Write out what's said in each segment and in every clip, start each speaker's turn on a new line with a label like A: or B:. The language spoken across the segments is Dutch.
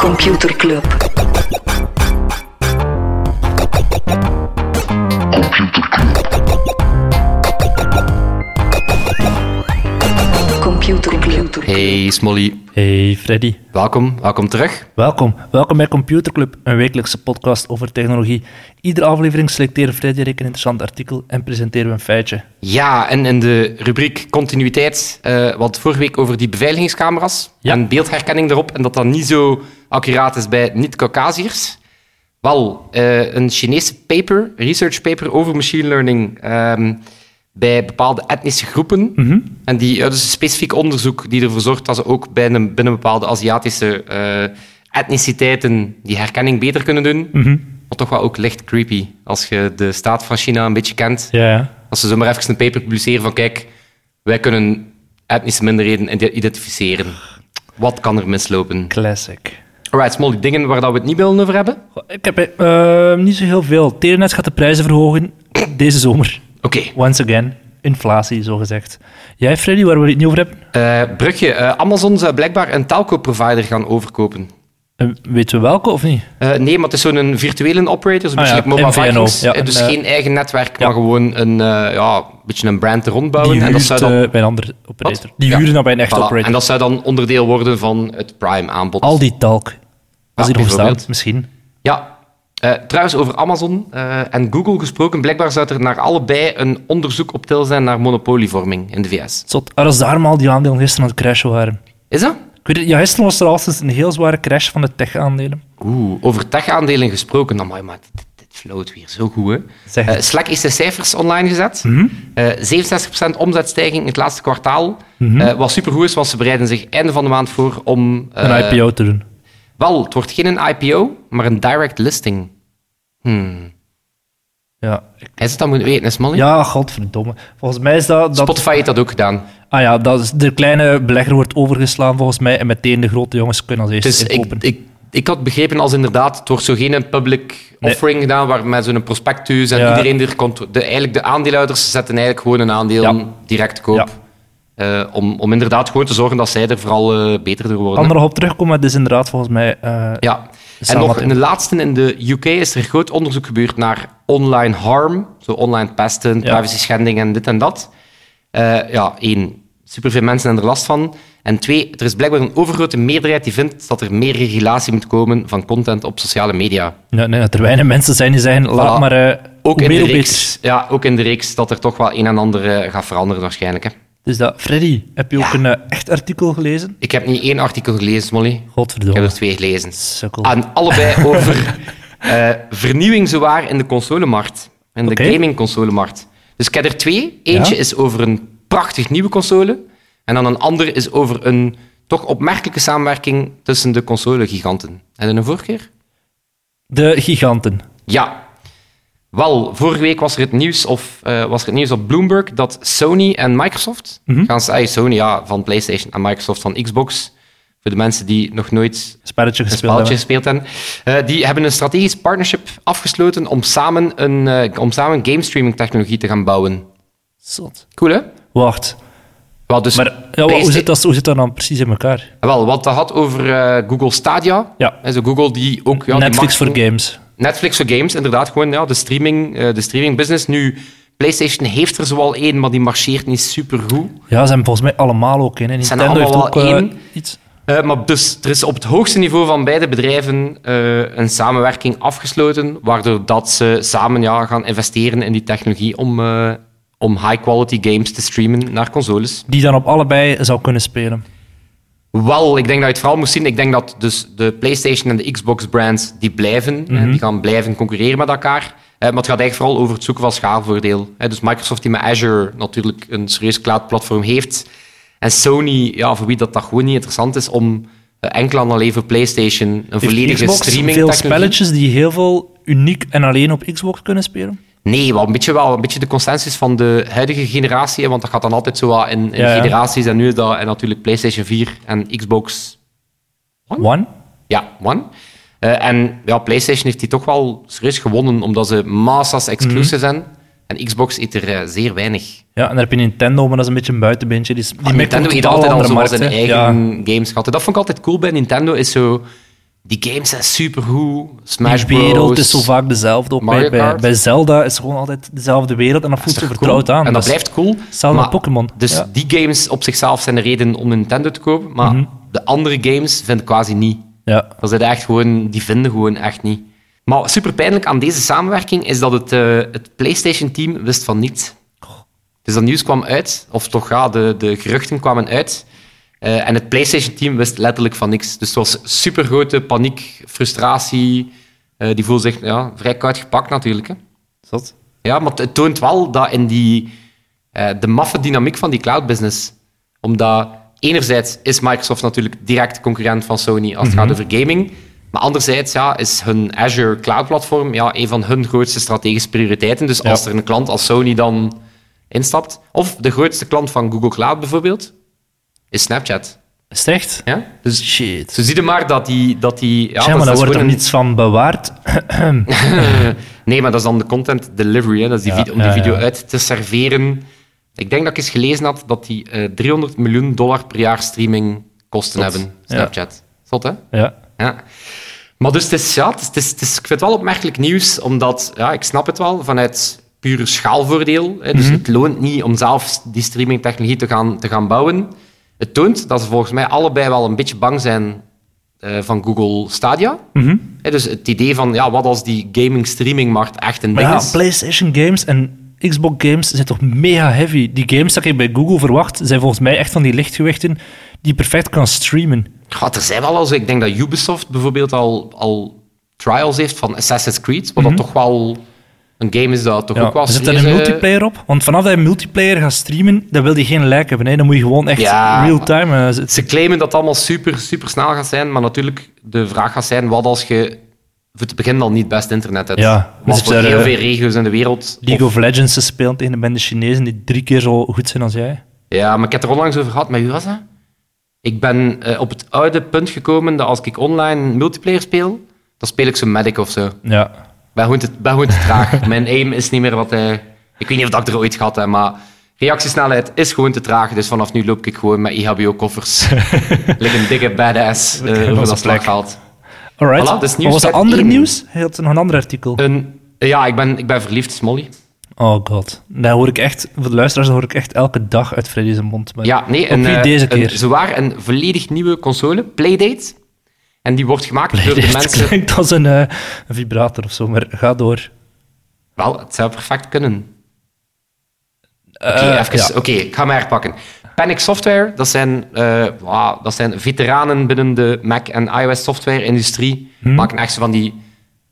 A: Computer Club. Computer Club. Computer Club.
B: Hey Smolly,
C: Hey Freddy,
B: welkom, welkom terug.
C: welkom. Welkom bij Computer Club, een wekelijkse podcast over technologie. Iedere aflevering selecteren Freddy en ik een interessant artikel en presenteren we een feitje.
B: Ja, en in de rubriek continuïteit, eh wat vorige week over die beveiligingscamera's
C: Ja.
B: en beeldherkenning erop en dat dat niet zo accuraat is bij niet-Caucasiërs. Wel, eh, een Chinese paper, research paper over machine learning ehm, bij bepaalde etnische groepen. En die, ja, dus een specifiek onderzoek die ervoor zorgt dat ze ook binnen, binnen bepaalde Aziatische eh, etniciteiten die herkenning beter kunnen doen. Maar toch wel ook licht creepy als je de staat van China een beetje kent.
C: Ja, ja.
B: Als ze zomaar even een paper publiceren van kijk, wij kunnen etnische minderheden ide- identificeren. Wat kan er mislopen?
C: Classic.
B: Alright, small die dingen waar dat we het niet willen over hebben.
C: Goh, Ik heb eh, niet zo heel veel. Telenet gaat de prijzen verhogen deze zomer.
B: Oké,
C: Once again, inflatie zogezegd. Jij Freddy, waar we het niet over hebben?
B: eh, Brugje. eh, Amazon zou blijkbaar een telco-provider gaan overkopen.
C: Eh, weten we welke of niet?
B: Eh, nee, maar het is zo'n virtuele operator, zo'n
C: Ah
B: beetje
C: ja,
B: like Mobile
C: MVNO,
B: Vikings.
C: ja,
B: Eh, dus
C: een, eh,
B: geen eigen netwerk,
C: ja.
B: maar gewoon een, eh, ja, een beetje een brand
C: Die
B: rondbouwen.
C: huurt
B: en dat zou dan,
C: eh, bij een andere operator. Die
B: Ja.
C: huren dan bij een echte
B: Voilà,
C: operator.
B: En dat zou dan onderdeel worden van het Prime-aanbod.
C: Al die talk. Als
B: Ja,
C: die hierover
B: bijvoorbeeld.
C: staat, misschien.
B: Ja. Eh, trouwens, over Amazon eh, en Google gesproken. Blijkbaar zou er naar allebei een onderzoek op til zijn naar monopolievorming in de VS.
C: Zot, als daarom al die aandelen gisteren aan het crashen waren.
B: Is dat?
C: Ik weet het, ja, gisteren was er al sinds een heel zware crash van de tech-aandelen.
B: Oeh, over tech-aandelen gesproken. Amai, maar dit, dit floot weer zo goed, hè.
C: Zeg Mhm.
B: Eh,
C: het.
B: Slack is de cijfers online gezet. Eh, 67% omzetstijging in het laatste kwartaal.
C: Mhm.
B: Eh, wat supergoed is, want ze bereiden zich einde van de maand voor om... eh,
C: Een IPO te doen.
B: Wel, het wordt geen een IPO, maar een direct listing.
C: Ja,
B: Hij zit dat moeten weten, is Molly?
C: ja godverdomme. Volgens mij is dat... dat
B: Spotify heeft dat ook gedaan.
C: Ah ja, dat is, de kleine belegger wordt overgeslaan volgens mij en meteen de grote jongens kunnen als
B: Dus
C: eerste
B: ik,
C: inkopen.
B: ik, ik had begrepen als inderdaad, het wordt zo geen public
C: Nee.
B: offering gedaan, waar met zo'n prospectus en
C: Ja.
B: iedereen die er komt. De, eigenlijk de aandeelhouders zetten eigenlijk gewoon een aandeel
C: Ja.
B: direct koop.
C: Ja.
B: Eh, om, om inderdaad gewoon te zorgen dat zij er vooral eh, beter door worden.
C: Kan er nog op terugkomen, het is inderdaad volgens mij... eh,
B: Ja.
C: Is
B: En
C: dat
B: nog
C: wat
B: in de laatste in de UK is er groot onderzoek gebeurd naar online harm. Zo online pesten, privacy schendingen en dit en dat. Eh, ja, één, superveel mensen hebben er last van. En twee, er is blijkbaar een overgrote meerderheid die vindt dat er meer regulatie moet komen van content op sociale media.
C: ja, nee, dat er weinig mensen zijn die zeggen, laat
B: Voilà.
C: maar... eh,
B: Ook
C: hoe
B: in,
C: meer,
B: de
C: hoe beter.
B: reeks, ja, ook in de reeks dat er toch wel een en ander eh, gaat veranderen waarschijnlijk. Hè.
C: Dus dat, Freddy, heb je ook een eh, echt artikel gelezen?
B: Ik heb niet één artikel gelezen, Molly. Ik heb
C: Godverdomme.
B: er twee gelezen.
C: Sukkel.
B: Aan allebei over eh, vernieuwing zowaar in de consolemarkt. In de
C: Oké.
B: gaming-consolemarkt. Dus ik heb er twee. Eentje
C: Ja.
B: is over een prachtig nieuwe console. En dan een ander is over een toch opmerkelijke samenwerking tussen de console-giganten. Heb je een voorkeur?
C: De giganten.
B: Ja. Wel, vorige week was er het nieuws, of, eh, was er het nieuws op Bloomberg dat Sony en Microsoft,
C: Mhm.
B: gaan ze, ah, Sony ja, van PlayStation en Microsoft van Xbox, voor de mensen die nog nooit
C: Spelletje
B: een
C: gespeeld
B: spelletje
C: hebben.
B: gespeeld hebben. Eh, die hebben een strategisch partnership afgesloten om samen een eh, om samen game streaming technologie te gaan bouwen.
C: Zot.
B: Cool, hè?
C: Wacht.
B: Wel, dus
C: Maar ja, wa- hoe,
B: PlayStation-
C: zit dat, hoe zit dat dan precies in elkaar?
B: Wel, wat dat had over eh, Google Stadia.
C: Ja.
B: En zo Google die ook... Ja, die
C: Netflix voor
B: markt-
C: games.
B: Netflix voor games, inderdaad. Gewoon ja, de, streaming, eh, de streaming business. Nu, PlayStation heeft er zoal één, maar die marcheert niet supergoed.
C: Ja, ze hebben volgens mij allemaal ook in. En
B: Zijn
C: Nintendo
B: er
C: heeft
B: allemaal
C: ook
B: wel
C: eh,
B: één?
C: iets.
B: Eh, maar dus er is op het hoogste niveau van beide bedrijven eh, een samenwerking afgesloten, waardoor dat ze samen ja, gaan investeren in die technologie om, eh, om high-quality games te streamen naar consoles.
C: Die dan op allebei zou kunnen spelen.
B: Wel, ik denk dat je het vooral moet zien. Ik denk dat dus de PlayStation en de Xbox-brands die blijven, eh,
C: Mhm.
B: die gaan blijven concurreren met elkaar. Eh, maar het gaat eigenlijk vooral over het zoeken van schaalvoordeel. Eh, dus Microsoft die met Azure natuurlijk een serieus cloud-platform heeft. En Sony, ja, voor wie dat, dat gewoon niet interessant is om eh, enkel en alleen voor PlayStation een volledige
C: Heeft Xbox
B: streaming
C: veel spelletjes die heel veel uniek en alleen op Xbox kunnen spelen?
B: Nee, wel een beetje, wel, een beetje de consensus van de huidige generatie. hè, Want dat gaat dan altijd zo wat in, in
C: Ja, ja.
B: generaties. En nu is dat en natuurlijk PlayStation 4 en Xbox
C: One?
B: Ja, One. Eh, en ja, PlayStation heeft die toch wel serieus gewonnen, omdat ze massa's exclusive
C: Mhm.
B: zijn. En Xbox eet er eh, zeer weinig.
C: Ja, en dan heb je Nintendo, maar dat is een beetje een buitenbeentje. Die, is- die mikt op
B: Ah, Nintendo eet
C: totaal
B: altijd al
C: andere
B: zo
C: markt,
B: zijn
C: hè.
B: eigen games gehad. En Dat vond ik altijd cool bij Nintendo, is zo... Die games zijn supergoed. Smash
C: Die wereld
B: Bros.
C: is zo vaak dezelfde. Ook
B: Mario
C: bij, bij,
B: Kart.
C: bij Zelda is gewoon altijd dezelfde wereld en dat voelt
B: is
C: ze
B: toch
C: vertrouwd
B: cool?
C: aan.
B: En dat
C: Dus-
B: blijft cool.
C: Hetzelfde
B: Maar-
C: met Pokémon.
B: Dus
C: Ja. Mhm.
B: die games op zichzelf zijn een reden om Nintendo te kopen, maar de andere games vind ik quasi niet.
C: Ja.
B: Dat zijn echt gewoon, die vinden gewoon echt niet. Maar super pijnlijk aan deze samenwerking is dat het, eh, het PlayStation-team wist van niets. Dus dat nieuws kwam uit, of toch ja, de, de geruchten kwamen uit. eh, en het PlayStation-team wist letterlijk van niks. Dus het was super grote paniek, frustratie. Eh, die voelde zich ja, vrij koud gepakt natuurlijk. Hè.
C: Zot.
B: Ja, maar het toont wel dat in die, eh, de maffe dynamiek van die cloud business. Omdat enerzijds is Microsoft natuurlijk direct concurrent van Sony als het
C: Mhm.
B: gaat over gaming. Maar anderzijds ja, is hun Azure Cloud Platform ja, een van hun grootste strategische prioriteiten. Dus als er een klant als Sony dan instapt. Of de grootste klant van Google Cloud bijvoorbeeld, is Snapchat.
C: Is het echt?
B: Ja? Dus
C: Shit.
B: zo zie je maar dat die... Dat die ja,
C: Zeg maar,
B: dat
C: daar
B: is
C: wordt er
B: gewoon een-
C: niets van bewaard.
B: Nee, maar dat is dan de content delivery, hè. Dat is die
C: Ja,
B: video, om die
C: ja,
B: video
C: ja.
B: uit te serveren. Ik denk dat ik eens gelezen had dat die eh 300 miljoen dollar per jaar streaming kosten hebben,
C: ja.
B: Snapchat. Zot, hè?
C: Ja.
B: Ja. Maar dus, het is, ja, het is, het is, het is- ik vind het wel opmerkelijk nieuws, omdat, ja, ik snap het wel, vanuit puur schaalvoordeel. Hè,
C: Mhm.
B: dus het loont niet om zelf die streamingtechnologie te gaan, te gaan bouwen. Het toont dat ze volgens mij allebei wel een beetje bang zijn eh, van Google Stadia.
C: Mhm.
B: Hè, dus het idee van, ja, wat als die gaming-streamingmarkt echt een
C: Maar
B: ding
C: ja,
B: is.
C: PlayStation games en Xbox games zijn toch mega heavy. Die games dat ik bij Google verwacht, zijn volgens mij echt van die lichtgewichten die je perfect kan streamen.
B: Ja, er zijn wel al zo. Ik denk dat Ubisoft bijvoorbeeld al, al trials heeft van Assassin's Creed, wat dat toch wel een game is dat toch ook wel...
C: Mhm. Ja. Zit er
B: serieus,
C: een
B: eh,
C: multiplayer op? Want vanaf dat je multiplayer gaat streamen, dan wil je geen lijk hebben. Hè. Dan moet je gewoon echt
B: Ja.
C: real-time... eh, zitten.
B: Ze claimen dat het allemaal super, super snel gaat zijn, maar natuurlijk de vraag gaat zijn, wat als je voor het begin al niet best internet hebt?
C: Ja, dus
B: Want
C: het
B: voor
C: zijn,
B: heel
C: eh,
B: veel regio's in de wereld...
C: League of Legends te spelen tegen een bende Chinezen die drie keer zo goed zijn als jij.
B: Ja, maar ik heb het er onlangs over gehad, maar wie was dat? Ik ben eh, op het oude punt gekomen dat als ik online multiplayer speel, dan speel ik zo medic of zo.
C: Ja.
B: Ben gewoon te, ben gewoon te traag. Mijn aim is niet meer wat... eh, ik weet niet of dat ik er ooit gehad heb, maar reactiesnelheid is gewoon te traag. Dus vanaf nu loop ik gewoon met IHBO-koffers. Liggen dikke badass eh, over
C: onze
B: dat
C: plek.
B: slagveld.
C: Alright.
B: Voilà, dus nieuws
C: Wat was het
B: uit
C: andere
B: één.
C: nieuws? Hij had nog een ander artikel.
B: Een, ja, ik ben, ik ben verliefd, Smolly.
C: Oh god. Dat hoor ik echt, voor de luisteraars, dat hoor ik echt elke dag uit Freddy's mond. Maar
B: Ja, nee,
C: op
B: een,
C: wie
B: eh,
C: deze
B: een-
C: keer?
B: zowaar een volledig nieuwe console, Playdate. En die wordt gemaakt door de
C: Het
B: mensen...
C: klinkt als een, eh, een vibrator of zo, maar ga door.
B: Wel, het zou perfect kunnen. Oké,
C: Eh,
B: even-
C: ja.
B: oké, ik ga me herpakken. Panic Software, dat zijn, eh, wauw, dat zijn veteranen binnen de Mac- en iOS-software-industrie.
C: Hm?
B: Maken echt zo van die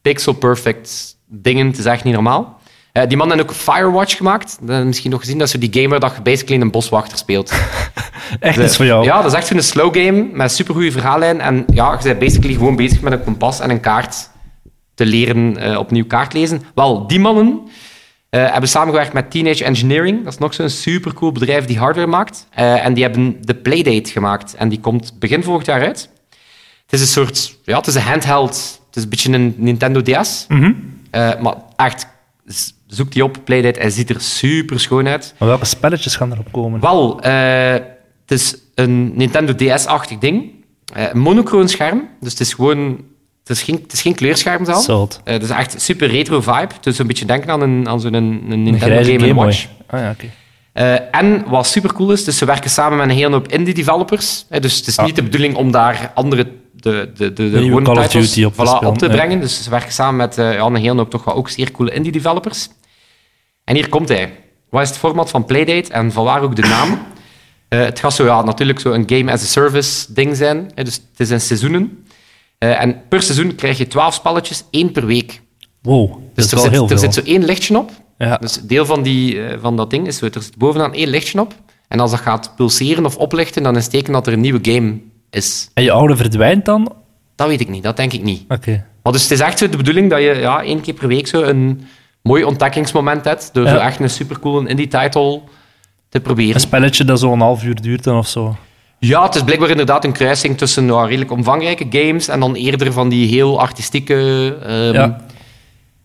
B: pixel-perfect dingen, het is echt niet normaal. Eh, die man heeft ook Firewatch gemaakt. Dat heb je misschien nog gezien, dat is zo die game waar dat je basically een boswachter speelt.
C: Echt iets voor jou.
B: Ja, dat is echt zo'n slow game met supergoeie verhaallijn. En ja, je bent basically gewoon bezig met een kompas en een kaart te leren eh, opnieuw kaart lezen. Wel, die mannen eh, hebben samengewerkt met Teenage Engineering. Dat is nog zo'n supercool bedrijf die hardware maakt. Eh, en die hebben de Playdate gemaakt. En die komt begin volgend jaar uit. Het is een soort... Ja, het is een handheld. Het is een beetje een Nintendo DS.
C: Mhm.
B: Eh, maar echt, z- zoek die op, Playdate. Hij ziet er super schoon uit.
C: Maar welke spelletjes gaan erop komen?
B: Wel, eh, het is een Nintendo DS-achtig ding. Eh, een monocroon scherm. Dus het is gewoon... Het is geen, het is geen kleurscherm zelf. Eh
C: Zot.
B: het is echt een super retro vibe. Dus een beetje denken aan, een, aan zo'n een
C: Een
B: Nintendo
C: grijze
B: Game,
C: Game Boy.
B: Watch.
C: Ah ja, oké.
B: Eh, en wat super cool is, dus ze werken samen met een hele hoop indie developers. Eh, dus het is niet de bedoeling om daar andere de, de, de, de
C: Ah. nieuwe
B: gewone
C: Call of
B: titles,
C: Duty op te
B: voilà,
C: spelen,
B: op te
C: ja.
B: brengen. Dus ze werken samen met eh, ja, een hele hoop toch wel ook zeer coole indie developers. En hier komt hij. Wat is het format van Playdate en vanwaar ook de naam? Eh, het gaat zo, ja, natuurlijk zo een game-as-a-service ding zijn. Eh, dus het is in seizoenen. Eh, en per seizoen krijg je 12 spelletjes, één per week.
C: Wow, dat
B: Dus
C: is
B: er,
C: wel
B: zit,
C: heel
B: er
C: veel.
B: zit zo één lichtje op.
C: Ja.
B: Dus deel van, die, eh, van dat ding is zo, er zit bovenaan één lichtje op. En als dat gaat pulseren of oplichten, dan is het teken dat er een nieuwe game is.
C: En je oude verdwijnt dan? Oké.
B: Dat weet ik niet, dat denk ik niet. Maar dus het is echt zo de bedoeling dat je ja, één keer per week zo een mooi ontdekkingsmoment hebt. Door
C: Ja.
B: zo echt een supercoole indie-title te
C: Een
B: proberen.
C: spelletje dat zo'n half uur duurt dan of zo.
B: Ja, het is blijkbaar inderdaad een kruising tussen ja, redelijk omvangrijke games en dan eerder van die heel artistieke... ehm,
C: Ja.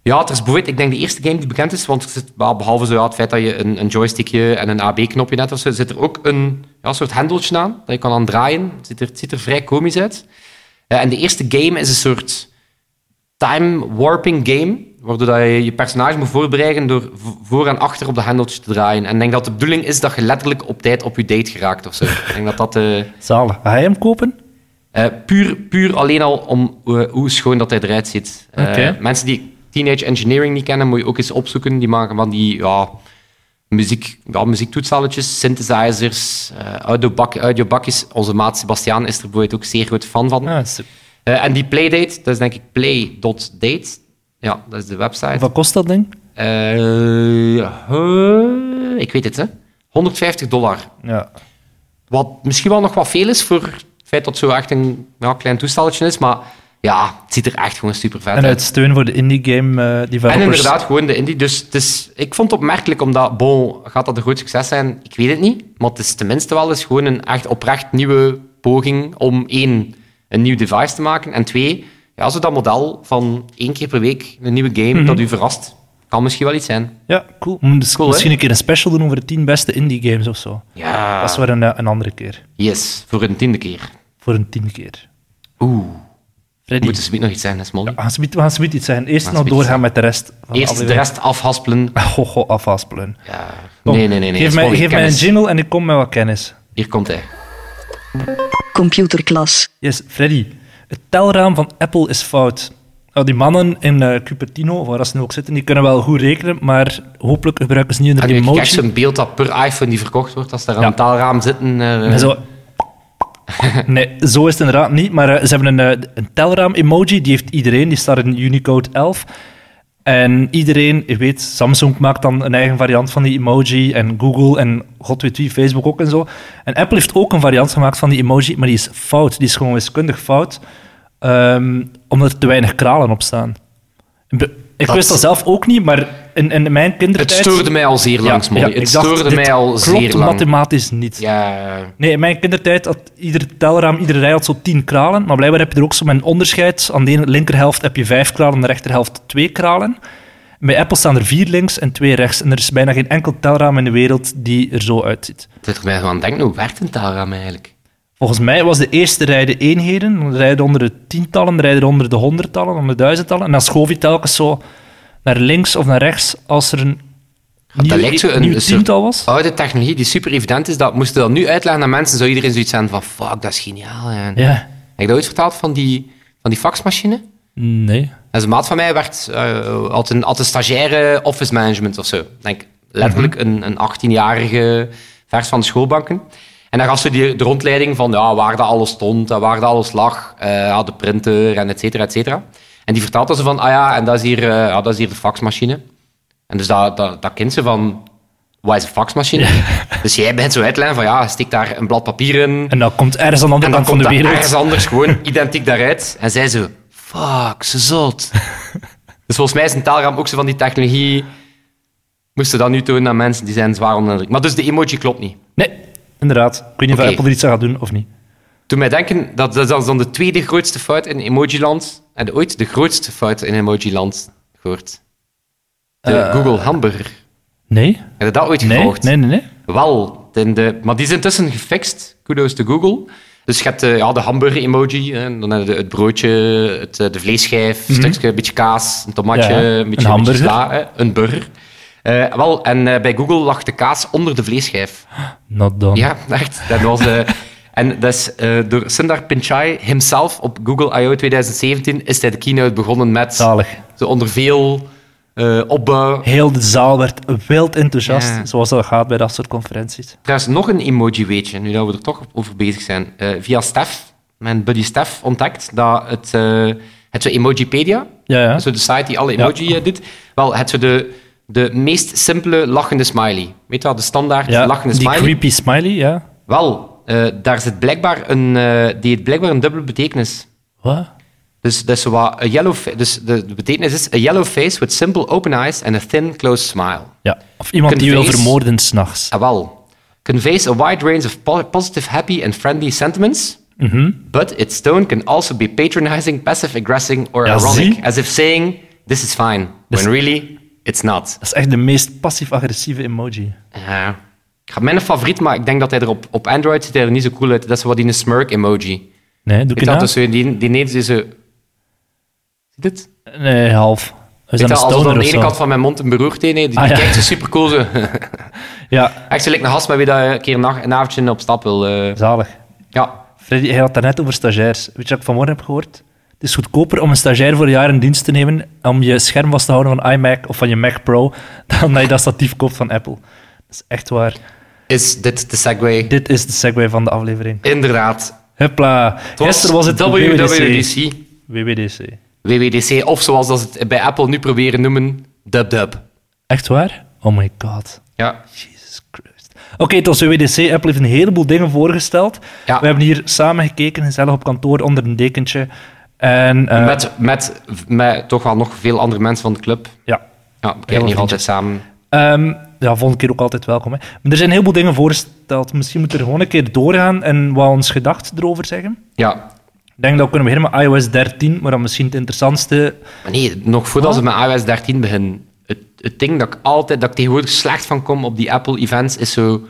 B: Ja, het is bijvoorbeeld, ik denk de eerste game die bekend is, want er zit, wel, behalve zo, ja, het feit dat je een, een joystickje en een AB-knopje net of zo, zit er ook een ja, soort hendeltje aan, dat je kan aan draaien. Het ziet er, het ziet er vrij komisch uit. Eh, Eh, en de eerste game is een soort time warping game, waardoor dat je je personage moet voorbereiden door v- voor en achter op de hendeltjes te draaien. En ik denk dat de bedoeling is dat je letterlijk op tijd op je date geraakt of zo. ik denk dat dat eh,
C: Zalig. Ga je hem kopen?
B: eh, puur, puur alleen al om eh, hoe schoon dat hij eruit ziet. Eh,
C: Oké.
B: mensen die Teenage Engineering niet kennen, moet je ook eens opzoeken. Die maken van die ja, muziek, ja, muziektoetsalletjes, synthesizers, eh audiobak- audiobakjes. Onze maat Sebastiaan is er bijvoorbeeld ook zeer groot fan van.
C: Ah, super.
B: Eh, en die Playdate, dat is denk ik play.date. Ja, dat is de website.
C: Wat kost dat ding?
B: Eh, eh, ik weet het, hè. 150 dollar.
C: Ja.
B: Wat misschien wel nog wat veel is voor het feit dat het zo echt een ja, klein toestelletje is, maar ja, het ziet er echt gewoon super vet
C: En
B: uit.
C: uit steun voor de indie game eh, developers.
B: En inderdaad, gewoon de indie. Dus het is, ik vond het opmerkelijk, omdat, bon, gaat dat een groot succes zijn? Ik weet het niet. Maar het is tenminste wel eens gewoon een echt oprecht nieuwe poging om één, een nieuw device te maken. En twee, ja, zo dat model van één keer per week een nieuwe game
C: Mhm.
B: dat u verrast, kan misschien wel iets zijn.
C: Ja, cool. Moet dus
B: Cool, hè?
C: misschien een keer een special doen over de 10 beste indie games of zo.
B: Ja.
C: Dat is weer een, eh, een andere keer.
B: Yes, voor een tiende keer.
C: Voor een tiende keer.
B: Oeh,
C: Freddy,
B: moet er nog iets zijn, hè, Smolly?
C: we gaan ze- we gaan ze iets zijn. Eerst
B: gaan
C: nog
B: ze iets
C: doorgaan met de Ah, rest. Van
B: Eerst de rest afhaspelen.
C: Gogo afhaspelen.
B: Ja.
C: Kom,
B: Nee, nee, nee. nee.
C: Geef, mij,
B: Smolly,
C: geef mij een
B: kennis.
C: jingle en ik kom met wat kennis.
B: Hier komt hij.
A: Computer Class.
C: Yes, Freddy. Het telraam van Apple is fout. Nou, die mannen in eh Cupertino, of waar dat ze nu ook zitten, die kunnen wel goed rekenen, maar hopelijk gebruiken ze niet
B: En
C: een
B: je krijgt
C: emoji.
B: zo'n beeld dat per iPhone die verkocht wordt, als daar aan
C: Ja.
B: een taalraam zitten. eh,
C: En zo... Nee, zo is het inderdaad niet. Maar eh, ze hebben een, eh, een telraam-emoji, die heeft iedereen. Die staat in Unicode 11. En iedereen, je weet, Samsung maakt dan een eigen variant van die emoji. En Google en god weet wie, Facebook ook en zo. En Apple heeft ook een variant gemaakt van die emoji, maar die is fout. Die is gewoon wiskundig fout, ehm, omdat er te weinig kralen op staan. Be- Ik
B: Dat-
C: wist dat zelf ook niet, maar in, in mijn
B: Het
C: kindertijd...
B: stoorde mij al zeer lang, Smolly.
C: ik
B: het
C: dacht,
B: stoorde
C: dit
B: mij al zeer
C: klopt
B: lang.
C: mathematisch niet.
B: Ja,
C: Nee, in mijn kindertijd had ieder telraam, iedere rij had zo tien kralen. Maar blijkbaar heb je er ook zo met een onderscheid. Aan de ene linkerhelft heb je vijf kralen, aan de rechterhelft twee kralen. Bij Apple staan er vier links en twee rechts. En er is bijna geen enkel telraam in de wereld die er zo uitziet.
B: het doet er mij gewoon denken, hoe werkt een taalraam eigenlijk?
C: Volgens mij was de eerste rij de eenheden. Dan rijden onder de tientallen, dan rijden onder de honderdtallen, onder de duizendtallen. En dan schoof je telkens zo naar links of naar rechts als er een nieuw,
B: lijkt zo een-
C: nieuw
B: een soort- Ah.
C: tiental was.
B: Oude technologie die super evident is, dat moesten we dat nu uitleggen aan mensen, zou iedereen zoiets zijn van, fuck, dat is geniaal. hè. Heb
C: Ja.
B: je dat ooit verteld van die, van die faxmachine?
C: Nee.
B: En zijn maat van mij werd, eh had, een, had een stagiaire office management of zo. Ik Denk, letterlijk een, een 18-jarige vers van de schoolbanken. En dan gaf ze die, de rondleiding van ja, waar dat alles stond en waar dat alles lag. eh, ja, de printer en et cetera, et cetera. En die vertelde ze van, ah ja, en dat is hier, eh, ja, dat is hier de faxmachine. En dus dat, dat, dat kind ze van, wat is een faxmachine? Dus jij bent zo uit te leggen van, ja, steek daar een blad papier in.
C: En dan komt ergens aan de
B: En dan
C: andere kant van
B: komt
C: de
B: dat
C: wereld.
B: ergens anders gewoon identiek daaruit. En zij zo, fuck, ze zot. dus volgens mij is een taalraam ook zo van die technologie. Moesten dat nu tonen aan mensen die zijn zwaar onder de indruk. Maar dus de emoji klopt niet.
C: Nee, inderdaad. Ik weet niet
B: Oké.
C: of Apple er iets aan gaat doen of niet.
B: Toen mij denken, dat, dat is dan de tweede grootste fout in emojiland. En ooit de grootste fout in emojiland gehoord. De Google Hamburger.
C: Nee?
B: Heb je dat ooit
C: Eh, Nee?
B: gevolgd?
C: Nee, nee, nee.
B: Wel, de, de, maar die is intussen gefixt. Kudos to Google. Dus je hebt eh, ja, de hamburger-emoji, hè, en dan heb je het broodje, het, eh, de vleesschijf, een stukje, een beetje kaas, een tomatje,
C: Mhm. Ja,
B: een
C: een
B: beetje, beetje
C: hamburger.
B: sla, hè, een burger. Eh, wel, en eh, bij Google lag de kaas onder de vleesschijf.
C: Oh. Not done.
B: Ja, echt. Dat was, eh, en dat is eh, door Sundar Pichai himself op Google I.O. 2017 is hij de keynote begonnen met
C: Zalig.
B: zo onder veel eh, opbouw.
C: Heel de zaal werd wild enthousiast,
B: Ja.
C: zoals dat gaat bij dat soort conferenties.
B: Trouwens, nog een emoji weetje, nu dat we er toch over bezig zijn. Eh, via Stef, mijn buddy Stef, ontdekt dat het, eh het zo Emojipedia,
C: Ja, ja.
B: dat is zo de site die alle emoji eh, doet, wel, het zo de, de meest simpele lachende smiley. Weet je wel, de standaard
C: ja
B: lachende
C: die
B: smiley.
C: creepy smiley, ja.
B: Wel, eh, daar zit blijkbaar een, eh, die heeft blijkbaar een dubbele betekenis.
C: Wat?
B: Dus, dat is zo wat, a yellow fa- dus de, de betekenis is a yellow face with simple open eyes and a thin closed smile.
C: Ja. Of iemand die wil
B: Conveys.
C: vermoorden s'nachts.
B: Ah, wel. Conveys a wide range of po- positive, happy and friendly sentiments.
C: Mhm.
B: But its tone can also be patronizing, passive aggressive or
C: Ja,
B: ironic,
C: zie.
B: as if saying this is fine,
C: Dus-
B: when really it's not.
C: Dat is echt de meest passief-agressieve emoji.
B: Ja. ik ga mijn favoriet, maar ik denk dat hij er op, op Android ziet hij er niet zo cool uit. Dat is wat die een smirk emoji.
C: Nee, doe ik
B: Weet dat,
C: dat?
B: dus die, die neer die ze... Zie je dit?
C: nou? Nee, half. We
B: Weet
C: zijn een
B: dat, alsof
C: stoner
B: aan
C: of
B: de ene
C: zo.
B: kant van mijn mond een beroerte heen, die, die
C: Ah, ja.
B: kijkt zo super cool. zo.
C: Ja,
B: Echt, ze lijkt een gast met wie dat je een keer na- een avondje op stap wil. eh.
C: zalig.
B: ja.
C: Freddy, hij had daarnet over stagiairs. Weet je wat ik vanmorgen heb gehoord? Het is goedkoper om een stagiair voor een jaar in dienst te nemen om je scherm vast te houden van iMac of van je Mac Pro dan dat je dat statief koopt van Apple. Dat is echt waar.
B: Is dit de segue?
C: Dit is de segue van de aflevering.
B: Inderdaad.
C: Hupla.
B: Het
C: Gisteren was het WWDC.
B: WWDC.
C: WWDC.
B: WWDC, of zoals dat ze het bij Apple nu proberen noemen, dub-dub.
C: Echt waar? Oh my god.
B: Ja.
C: Jesus Christ. Oké, het was WWDC. Apple heeft een heleboel dingen voorgesteld.
B: Ja.
C: We hebben hier samen gekeken, gezellig op kantoor onder een dekentje. En, eh,
B: met, met, met toch wel nog veel andere mensen van de club.
C: ja.
B: Ja, we
C: Heel
B: kijken hier
C: veel
B: altijd samen.
C: Ehm, ja, volgende keer ook altijd welkom. Hè. Maar er zijn een heleboel dingen voorgesteld. Misschien moeten we er gewoon een keer doorgaan en wat ons gedacht erover zeggen.
B: Ja.
C: Ik denk dat we kunnen beginnen met iOS 13, maar dan misschien het interessantste.
B: Maar nee, nog voordat ze met iOS 13 beginnen. Het, het ding dat ik altijd, dat ik tegenwoordig slecht van kom op die Apple-events, is zo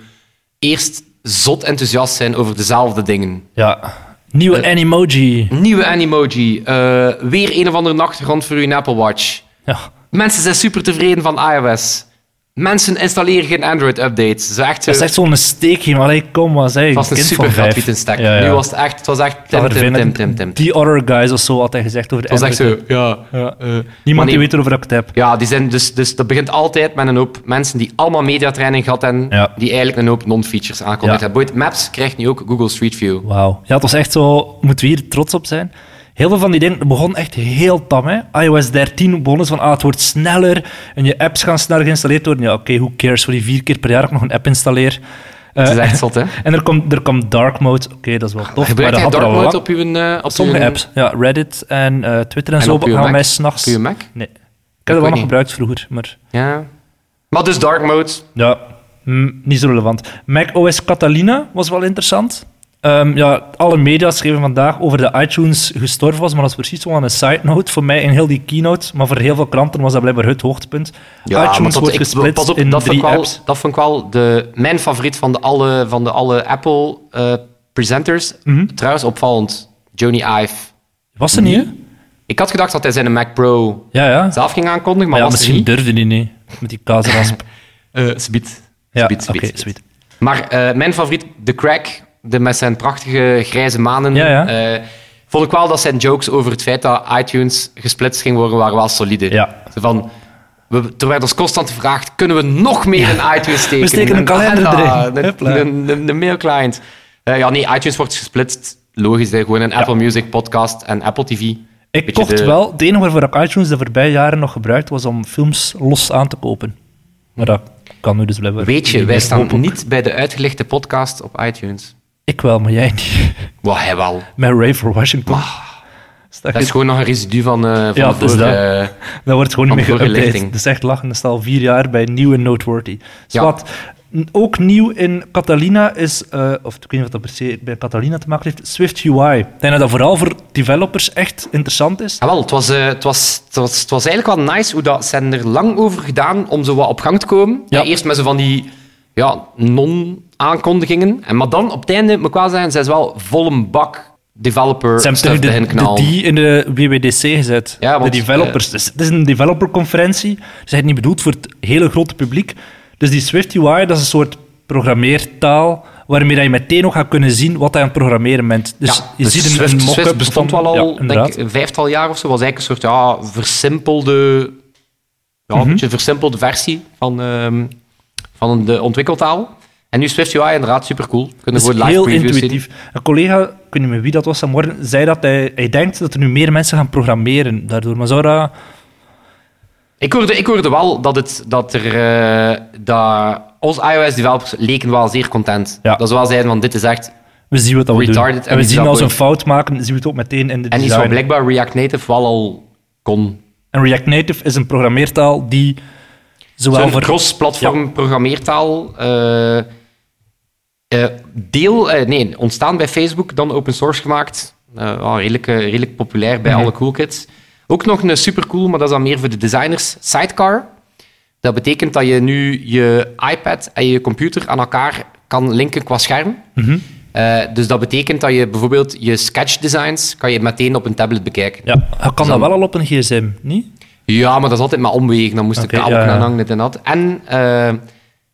B: eerst zot enthousiast zijn over dezelfde dingen.
C: Ja, nieuwe
B: Eh.
C: Animoji.
B: Nieuwe Animoji, eh, weer een of andere achtergrond voor uw Apple Watch.
C: Ja.
B: Mensen zijn super tevreden van iOS. Mensen installeren geen Android-updates. Ze echt zo-
C: Dat is echt zo'n steekje, maar hey, kom, wat zeg je?
B: Het was een
C: kind
B: super
C: van vijf.
B: gratuite stek.
C: Ja, ja.
B: Nu was het echt, het was echt
C: Dat
B: tim,
C: vervelend.
B: tim, tim, tim, tim.
C: Die horror guys of zo had hij gezegd over de
B: Het was echt
C: Android.
B: zo, ja.
C: Ja.
B: eh, maar nee,
C: Niemand die weet erover dat ik het heb.
B: Ja, die zijn dus, dus dat begint altijd met een hoop mensen die allemaal mediatraining gehad hebben,
C: Ja.
B: die eigenlijk een hoop non-features aankondigd
C: Ja.
B: hebben. Boeit, Maps krijgt nu ook Google Street View.
C: Wauw. Ja, het was echt zo, moeten we hier trots op zijn. Heel veel van die dingen het begon echt heel tam. Hè? iOS 13 begon eens van, ah, het wordt sneller en je apps gaan sneller geïnstalleerd worden. Ja, oké, who cares voor die vier keer per jaar ik nog een app installeer. Eh,
B: Het is echt zot, hè?
C: en er komt, er komt dark mode. Oké, dat is wel tof.
B: Gebruikt jij
C: dat had er
B: dark
C: al
B: mode
C: wat-
B: op uw, eh, op
C: Sommige
B: uw-
C: apps. Ja, Reddit en eh, Twitter en,
B: En
C: zo
B: op uw
C: gaan
B: Mac?
C: mij s'nachts...
B: Op uw Mac?
C: Nee. Ik heb
B: weet
C: dat wel nog
B: niet.
C: gebruikt vroeger, maar...
B: Ja. Maar dus dark mode.
C: Ja, mm, niet zo relevant. macOS Catalina was wel interessant. Ehm, ja, alle media schreven vandaag over de iTunes gestorven was, maar dat is precies wel een side note voor mij in heel die keynote. Maar voor heel veel kranten was dat blijkbaar het hoogtepunt.
B: maar
C: iTunes
B: dat-
C: wordt
B: ik-
C: gesplitst
B: pas op,
C: in
B: dat
C: drie
B: vond ik wel,
C: apps.
B: Dat vond ik wel de, mijn favoriet van de alle, van de alle Apple eh, presenters.
C: Mhm.
B: Trouwens, opvallend, Johnny Ive.
C: Was er niet? hè?
B: Ik had gedacht dat hij zijn Mac Pro
C: Ja, ja. Maar
B: zelf ging aankondigen, maar,
C: ja,
B: was
C: misschien durfde die niet. Met die kazerasp.
B: er niet. Eh, Subiet.
C: ja,
B: Subiet,
C: oké,
B: subiet, subiet.
C: sweet.
B: Maar eh, mijn favoriet, The Crack, de, met zijn prachtige grijze manen.
C: Ja, ja.
B: eh, vond ik wel dat zijn jokes over het feit dat iTunes gesplitst ging worden, waren wel solide.
C: Ja.
B: Zo van, we, er werd ons constant gevraagd, kunnen we nog meer in iTunes steken?
C: We steken een kalender
B: agenda,
C: erin. Hupla.
B: Een, een, een, een mailclient. Eh, ja, nee, iTunes wordt gesplitst. Logisch, hè, gewoon een Apple Music podcast en Apple TV. Beetje
C: Ik kocht
B: de-
C: wel... Het enige waarvoor ik iTunes de voorbije jaren nog gebruikt, was om films los aan te kopen. Maar dat kan nu dus blijkbaar
B: Weet je, wij
C: niet meer. Hoop
B: staan
C: ik.
B: niet bij de uitgelichte podcast op iTunes.
C: Ik wel, maar jij niet.
B: Wat hij wel.
C: Met Ray for Washington. Stak
B: Ah, Dat is
C: het-
B: gewoon nog een residu van, eh van
C: Ja,
B: de
C: het is
B: vorige, eh,
C: dat wordt gewoon niet
B: van
C: meer
B: vorige
C: geüpdate.
B: lichting.
C: Dat is echt lachen. Dat staat al vier jaar bij nieuw en noteworthy. Dus
B: Ja.
C: wat n- ook nieuw in Catalina is, eh, of ik weet niet of dat per se bij Catalina te maken heeft, Swift UI. Ik denk dat dat vooral voor developers echt interessant is.
B: Ja, wel, het was, eh, het, was, het, was, het was eigenlijk wel nice hoe dat ze hebben er lang over gedaan om zo wat op gang te komen.
C: Ja.
B: Eh, Eerst met zo van die ja, non-aankondigingen. En, maar dan op het einde, moet ik wel zeggen, zijn ze wel vol een bak developer
C: Ze hebben
B: stuff
C: terug
B: erin
C: de, de
B: knallen.
C: die in de WWDC gezet.
B: Ja, want, eh,
C: de developers. Dus het is een developerconferentie. Ze zijn niet bedoeld voor het hele grote publiek. Dus die Swift UI, dat is een soort programmeertaal waarmee dat je meteen ook gaat kunnen zien wat hij aan het programmeren bent. Dus
B: Ja,
C: je
B: dus
C: ziet een,
B: Swift,
C: een mock-up
B: Swift bestond
C: van-
B: wel
C: Ja,
B: al denk
C: inderdaad.
B: ik, een vijftal jaar of zo. was eigenlijk een soort ja, versimpelde, ja,
C: Mhm.
B: een beetje versimpelde versie van, ehm, van de ontwikkeltaal. En nu Swift UI, inderdaad, supercool. Kunnen
C: Dat
B: we
C: is
B: live
C: heel
B: previews zien.
C: intuïtief. Een collega, ik weet niet meer wie dat was vanmorgen, zei dat hij, hij denkt dat er nu meer mensen gaan programmeren daardoor. Maar zou dat...
B: Ik hoorde, ik hoorde wel dat, het, dat er. eh, dat onze iOS-developers leken wel zeer content.
C: Ja.
B: Dat ze wel zeiden: van dit is echt.
C: We zien wat dat we doen.
B: Retarded
C: En we
B: en
C: zien als we een
B: developer.
C: fout maken, zien we het ook meteen in de
B: En iets
C: design.
B: wat blijkbaar React Native wel al kon.
C: En React Native is een programmeertaal die zowel
B: Zo'n
C: voor...
B: cross-platform programmeertaal. eh, eh, deel. eh, nee, ontstaan bij Facebook, dan open source gemaakt. Eh, wel redelijk, eh, redelijk populair bij
C: Mhm.
B: alle cool kids. Ook nog een supercool, maar dat is dan meer voor de designers: Sidecar. Dat betekent dat je nu je iPad en je computer aan elkaar kan linken qua scherm.
C: Mhm.
B: Eh, dus dat betekent dat je bijvoorbeeld je sketchdesigns kan je meteen op een tablet bekijken.
C: Ja, je kan dat wel al op een gsm, niet?
B: Ja, maar dat is altijd maar omwegen. Dan moest
C: Oké,
B: de kabel
C: ja, ja.
B: gaan hangen, dit en dat. En eh,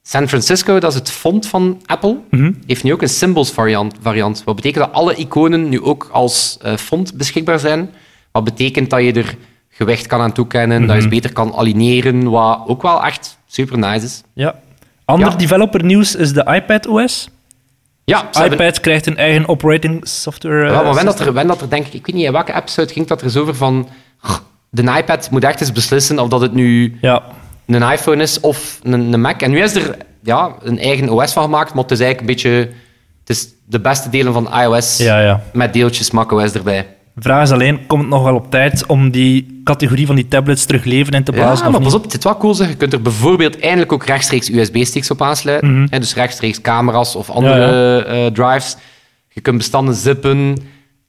B: San Francisco, dat is het font van Apple,
C: Mhm.
B: heeft nu ook een symbols variant, variant. Wat betekent dat alle iconen nu ook als eh, font beschikbaar zijn. Wat betekent dat je er gewicht kan aan toekennen, dat je
C: Mhm.
B: ze beter kan aligneren, wat ook wel echt super nice is.
C: Ja. Ander
B: Ja.
C: developer nieuws is de iPad OS.
B: Ja, ze hebben-
C: iPad krijgt een eigen operating software. eh,
B: Ja, maar wen dat,
C: systeem.
B: er, wen dat er, denk ik, ik weet niet in welke apps het ging, dat er zo over van. "Goh, De iPad moet echt eens beslissen of dat het nu
C: Ja,
B: een iPhone is of een, een Mac. En nu is er ja, een eigen OS van gemaakt, maar het is eigenlijk een beetje. Het is de beste delen van iOS
C: ja, ja.
B: met deeltjes macOS erbij.
C: De vraag is alleen, komt het nog wel op tijd om die categorie van die tablets terug leven in te
B: Ja,
C: blazen? of
B: maar
C: niet?
B: pas op, het is wel cool. Zeg. Je kunt er bijvoorbeeld eindelijk ook rechtstreeks USB-sticks op aansluiten.
C: Mhm.
B: Hè, dus rechtstreeks camera's of andere eh, drives. Je kunt bestanden zippen.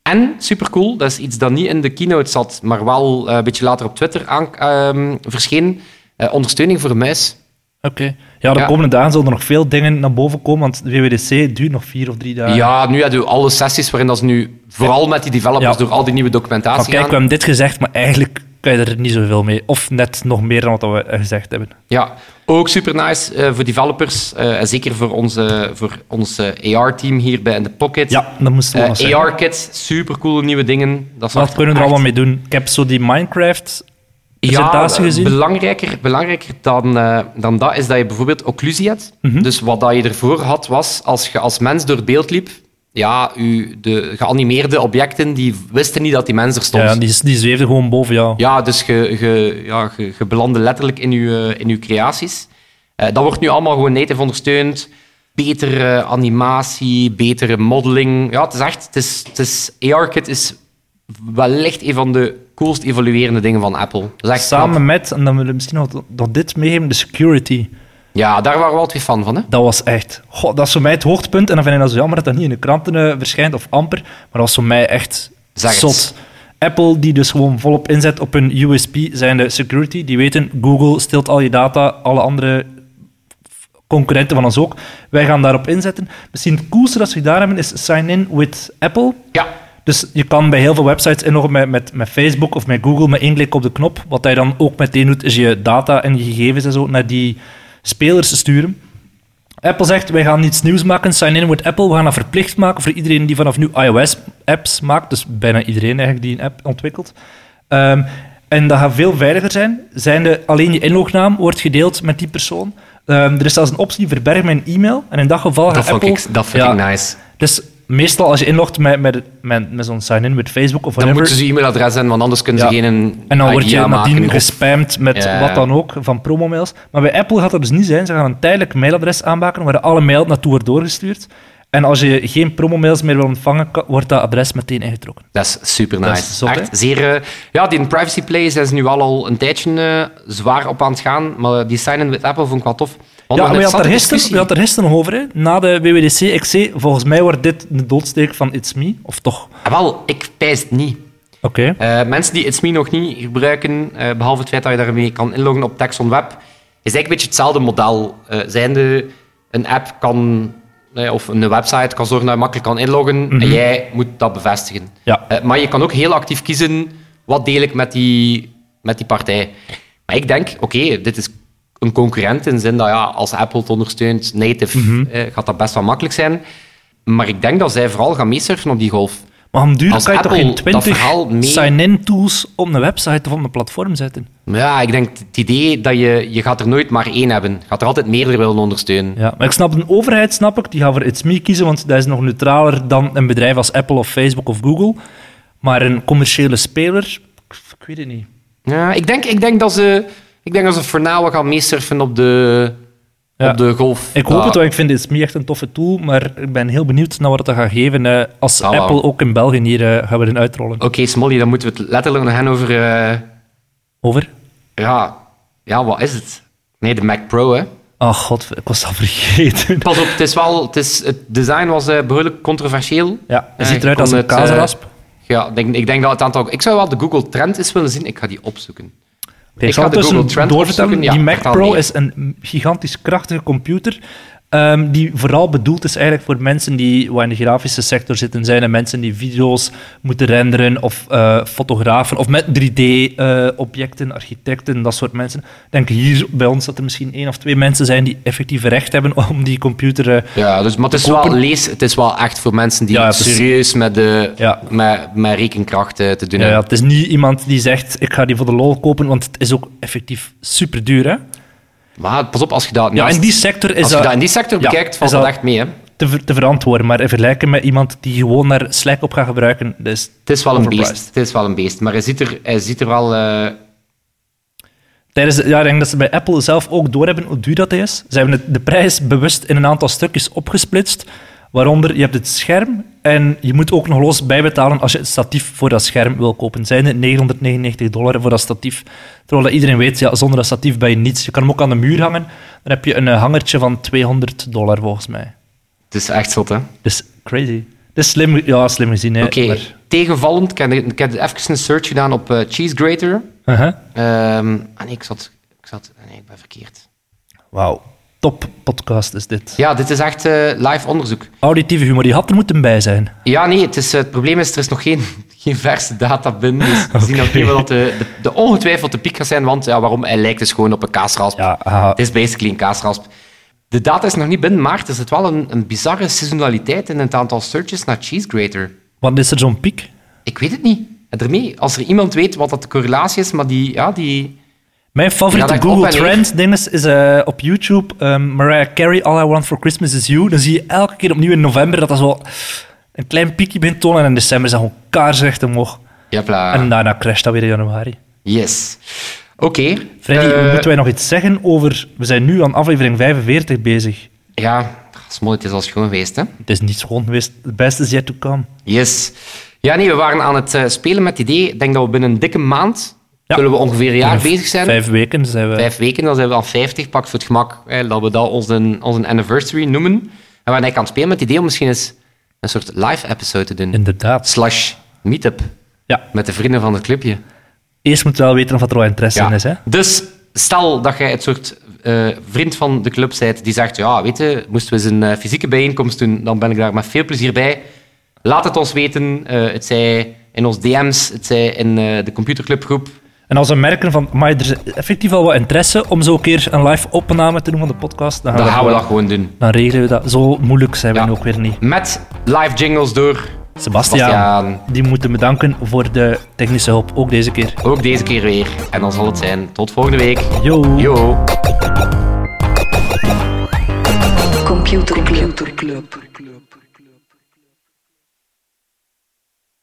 B: En, supercool, dat is iets dat niet in de keynote zat, maar wel eh, een beetje later op Twitter aan, ehm, verscheen. eh, ondersteuning voor een muis.
C: Oké. Ja, de
B: Ja.
C: komende dagen zullen er nog veel dingen naar boven komen, want WWDC duurt nog vier of drie dagen.
B: Ja, nu hebben we alle sessies waarin dat ze nu, vooral met die developers,
C: Ja.
B: door al die nieuwe
C: Van,
B: documentatie
C: kijk, we
B: gaan.
C: hebben dit gezegd, maar eigenlijk kan je er niet zoveel mee. Of net nog meer dan wat we eh, gezegd hebben.
B: Ja, ook super nice eh, voor developers. eh, en zeker voor, onze, voor ons AR-team hier bij In The Pocket.
C: Ja, dat moesten we nog
B: Eh,
C: zeggen.
B: AR-kits, supercoole nieuwe dingen. Dat
C: Wat kunnen we er allemaal mee doen? Ik heb zo die Minecraft presentatie
B: ja, eh,
C: gezien.
B: Belangrijker, belangrijker dan, eh, dan dat is dat je bijvoorbeeld occlusie hebt.
C: Mhm.
B: Dus wat dat je ervoor had, was als je als mens door het beeld liep, ja, u, de geanimeerde objecten die wisten niet dat die mens er stond.
C: ja, die, die zweefde gewoon boven jou.
B: Ja, dus je, je, ja, je, je belandde letterlijk in je, eh, in je creaties. Eh, dat wordt nu allemaal gewoon native ondersteund. Betere eh, animatie, betere modeling. Ja, het is echt... Het is, het is, ARKit is wellicht een van de coolst evoluerende dingen van Apple. Dat is echt
C: Samen
B: knap.
C: met, en dan willen we misschien nog, nog dit meegeven, de security.
B: Ja, daar waren we altijd fan van, hè?
C: Dat was echt... Goh, dat is voor mij het hoogtepunt. En dan vind ik dat zo jammer dat dat niet in de kranten eh, verschijnt, of amper. Maar dat was voor mij echt
B: Zeg het.
C: zot. Apple, die dus gewoon volop inzet op hun USP, zijn de security. Die weten, Google steelt al je data, alle andere f- concurrenten van ons ook. Wij gaan daarop inzetten. Misschien het coolste dat ze gedaan hebben, is sign in with Apple.
B: Ja.
C: Dus je kan bij heel veel websites inloggen met, met, met Facebook of met Google met één klik op de knop. Wat hij dan ook meteen doet, is je data en je gegevens en zo naar die spelers sturen. Apple zegt, wij gaan iets nieuws maken, sign in with Apple. We gaan dat verplicht maken voor iedereen die vanaf nu iOS-apps maakt. Dus bijna iedereen eigenlijk die een app ontwikkelt. Ehm, en dat gaat veel veiliger zijn. Zijnde, alleen je inlognaam wordt gedeeld met die persoon. Ehm, er is zelfs een optie, verberg mijn e-mail. En in dat geval gaat
B: Dat vond
C: Apple...
B: ik, dat vond
C: Ja,
B: ik nice.
C: dus meestal als je inlogt met, met, met, met zo'n sign-in met Facebook of
B: Dan
C: whatever.
B: moeten ze je e-mailadres hebben, want anders kunnen ze
C: Ja.
B: geen
C: en dan word
B: idea
C: je
B: maken
C: nadien
B: of-
C: gespamd met
B: Ja.
C: wat dan ook, van promomails. Maar bij Apple gaat dat dus niet zijn. Ze gaan een tijdelijk mailadres aanmaken waar alle mail naartoe wordt doorgestuurd. En als je geen promomails meer wil ontvangen, ka- wordt dat adres meteen ingetrokken.
B: Dat is super nice.
C: Dat is zot,
B: Echt zeer, eh, ja, die privacy play zijn ze nu al, al een tijdje eh, zwaar op aan het gaan. Maar die sign-in met Apple vond ik wel tof. Want
C: ja,
B: een
C: we hadden er
B: interessante
C: gisteren-
B: discussie.
C: we hadden er gisteren nog over. hè. Na de WWDC, ik zei, volgens mij wordt dit de doodsteek van It's Me. Of toch? Oké.
B: Ah, wel, ik pijs het niet. Eh, mensen die It's Me nog niet gebruiken, eh, behalve het feit dat je daarmee kan inloggen op Texon Web, is eigenlijk een beetje hetzelfde model. Eh zijnde, een app kan, eh, of een website kan zorgen dat je makkelijk kan inloggen
C: Mhm.
B: en jij moet dat bevestigen.
C: Ja.
B: Eh, maar je kan ook heel actief kiezen wat deel ik met die, met die partij. Maar ik denk, oké, dit is een concurrent in de zin dat ja, als Apple het ondersteunt, native,
C: Mhm.
B: eh, gaat dat best wel makkelijk zijn. Maar ik denk dat zij vooral gaan meesurfen op die golf.
C: Maar om duur
B: Als
C: kan je toch
B: Apple
C: geen
B: dat verhaal
C: 20
B: mee-
C: sign-in tools op een website of op een platform zetten?
B: Maar Ja, ik denk het idee dat je, je gaat er nooit maar één hebben. Je gaat er altijd meerdere willen ondersteunen.
C: Ja, maar ik snap een overheid, snap ik, die gaat voor It's Me kiezen, want dat is nog neutraler dan een bedrijf als Apple of Facebook of Google. Maar een commerciële speler, ik- ik weet het niet.
B: Ja, ik, denk, ik, denk dat ze, ik denk dat ze voor nou gaan meesurfen op de,
C: Ja.
B: op de golf.
C: Ik hoop
B: Ja.
C: het, want ik vind It's Me echt een toffe tool, maar ik ben heel benieuwd naar wat dat gaat geven eh, als
B: Ah, wauw.
C: Apple ook in België hier eh, gaan willen uitrollen.
B: Oké, Smolly, dan moeten we het letterlijk nog gaan over... eh,
C: Over?
B: ja, ja, wat is het? Nee, de Mac Pro, hè.
C: Oh god, ik was dat vergeten.
B: Pas op, het, is wel, het, is, het design was eh, behoorlijk controversieel.
C: Ja,
B: Eh,
C: het ziet
B: je
C: eruit als
B: kon
C: een
B: het, eh,
C: kaasrasp.
B: ja, ik denk, ik denk dat het aantal... Ik zou wel de Google Trend eens willen zien. Ik ga die opzoeken.
C: Oké,
B: Ik
C: ik zal
B: ga de Google
C: tussen
B: Trend
C: doorvertellen.
B: opzoeken. Ja,
C: die Mac
B: vertel
C: Pro
B: mee.
C: is een gigantisch krachtige computer ehm, die vooral bedoeld is eigenlijk voor mensen die wat in de grafische sector zitten zijn en mensen die video's moeten renderen of eh, fotografen of met 3D-objecten, architecten, dat soort mensen. Ik denk hier bij ons dat er misschien één of twee mensen zijn die effectief recht hebben om die computer... eh,
B: Ja, dus, maar het is, wel,
C: Kopen.
B: lees, het is wel echt voor mensen die
C: Ja, ja, precies.
B: serieus met, de,
C: Ja.
B: met, met rekenkracht eh, te doen
C: ja, Nou ja,
B: hebben.
C: het is niet iemand die zegt, ik ga die voor de lol kopen, want het is ook effectief super duur. Hè?
B: Maar pas op, als je dat,
C: Ja,
B: naast-
C: in die sector is
B: als je
C: dat...
B: dat in die sector
C: ja,
B: bekijkt,
C: is
B: valt dat echt mee. Hè.
C: te, ver- te verantwoorden. Maar in vergelijking met iemand die gewoon naar Slack op gaat gebruiken, dat is
B: Het is wel een
C: overpriced.
B: beest. Het is wel een beest. Maar hij ziet er, hij ziet er wel... eh,
C: Tijdens, de- ja, ik denk dat ze bij Apple zelf ook doorhebben hoe duur dat is. Ze hebben het, de prijs bewust in een aantal stukjes opgesplitst. Waaronder, je hebt het scherm en je moet ook nog los bijbetalen als je het statief voor dat scherm wil kopen. Zijn het 999 dollar voor dat statief? Terwijl dat iedereen weet, ja, zonder dat statief ben je niets. Je kan hem ook aan de muur hangen. Dan heb je een eh, hangertje van 200 dollar volgens mij.
B: het is echt zot, hè. Oké,
C: Dat is crazy. Dat is slim, ja, slim gezien. hè, maar-
B: tegenvallend. Ik heb, ik heb even een search gedaan op eh, Cheese Grater.
C: Uh-huh.
B: Ehm, ah nee, ik zat... Ik zat ah, nee, ik ben verkeerd.
C: Wauw. Top podcast is dit.
B: Ja, dit is echt eh, live onderzoek.
C: Auditieve humor, die had er moeten bij zijn.
B: Ja, nee, het, is, eh, het probleem is, er is nog geen, geen verse data binnen. Dus we zien
C: Oké.
B: nog niet wat de, de, de ongetwijfeld de piek gaat zijn, want ja, waarom? Hij lijkt dus gewoon op een kaasrasp.
C: Ja, ah. haha.
B: Het is basically een kaasrasp. De data is nog niet binnen, maar er zit wel een, een bizarre seasonaliteit in het aantal searches naar Cheese Grater.
C: Want is er zo'n piek?
B: Ik weet het niet. En daarmee, als er iemand weet wat dat de correlatie is, maar die... Ja, die...
C: Mijn favoriete
B: Ja, dat
C: Google
B: klopt, hè,
C: Trend ding is, is eh, op YouTube ehm, Mariah Carey, All I Want for Christmas is You. Dan zie je elke keer opnieuw in november dat dat zo een klein piekje begint te tonen. En in december is dat gewoon kaarsrecht omhoog.
B: Jepla.
C: En daarna crasht dat weer in januari.
B: Yes. Oké.
C: Freddy,
B: eh,
C: moeten wij nog iets zeggen over... We zijn nu aan aflevering 45 bezig.
B: Ja, Smol, het is al schoon geweest, hè?
C: Het is niet schoon geweest. Het beste is yet to come.
B: Yes. Ja, nee, we waren aan het eh, spelen met het idee. Ik denk dat we binnen een dikke maand
C: Ja.
B: zullen we ongeveer een jaar
C: Binnen
B: bezig zijn. Vijf,
C: Vijf eh. weken zijn we...
B: weken, dan zijn we al 50. Pak voor het gemak eh, dat we dat onze, onze anniversary noemen. En we waren eigenlijk aan het spelen met het idee om misschien eens een soort live episode te doen.
C: Inderdaad.
B: Slash meetup
C: Ja.
B: met de vrienden van het clubje.
C: Eerst moeten we wel weten of dat er wel interesse in is, hè?
B: Dus stel dat jij het soort eh, vriend van de club bent die zegt, ja, weet je, moesten we eens een eh, fysieke bijeenkomst doen, dan ben ik daar met veel plezier bij. Laat het ons weten. eh, het zij in ons DM's, het zij in eh, de computerclubgroep.
C: En als we merken van, maar er is effectief al wat interesse om zo een keer een live opname te doen van de podcast, dan gaan,
B: Dan
C: we,
B: gaan we
C: dat
B: dat gewoon doen.
C: gewoon- dan regelen we dat. Zo moeilijk zijn we
B: Ja.
C: nu ook weer niet.
B: Met live jingles door.
C: Sebastiaan,
B: Sebastiaan.
C: die moeten bedanken voor de technische hulp, ook deze keer.
B: Ook deze keer weer. En dan zal het zijn. Tot volgende week.
C: Yo.
B: Yo.
A: Computer Club. Computer Club.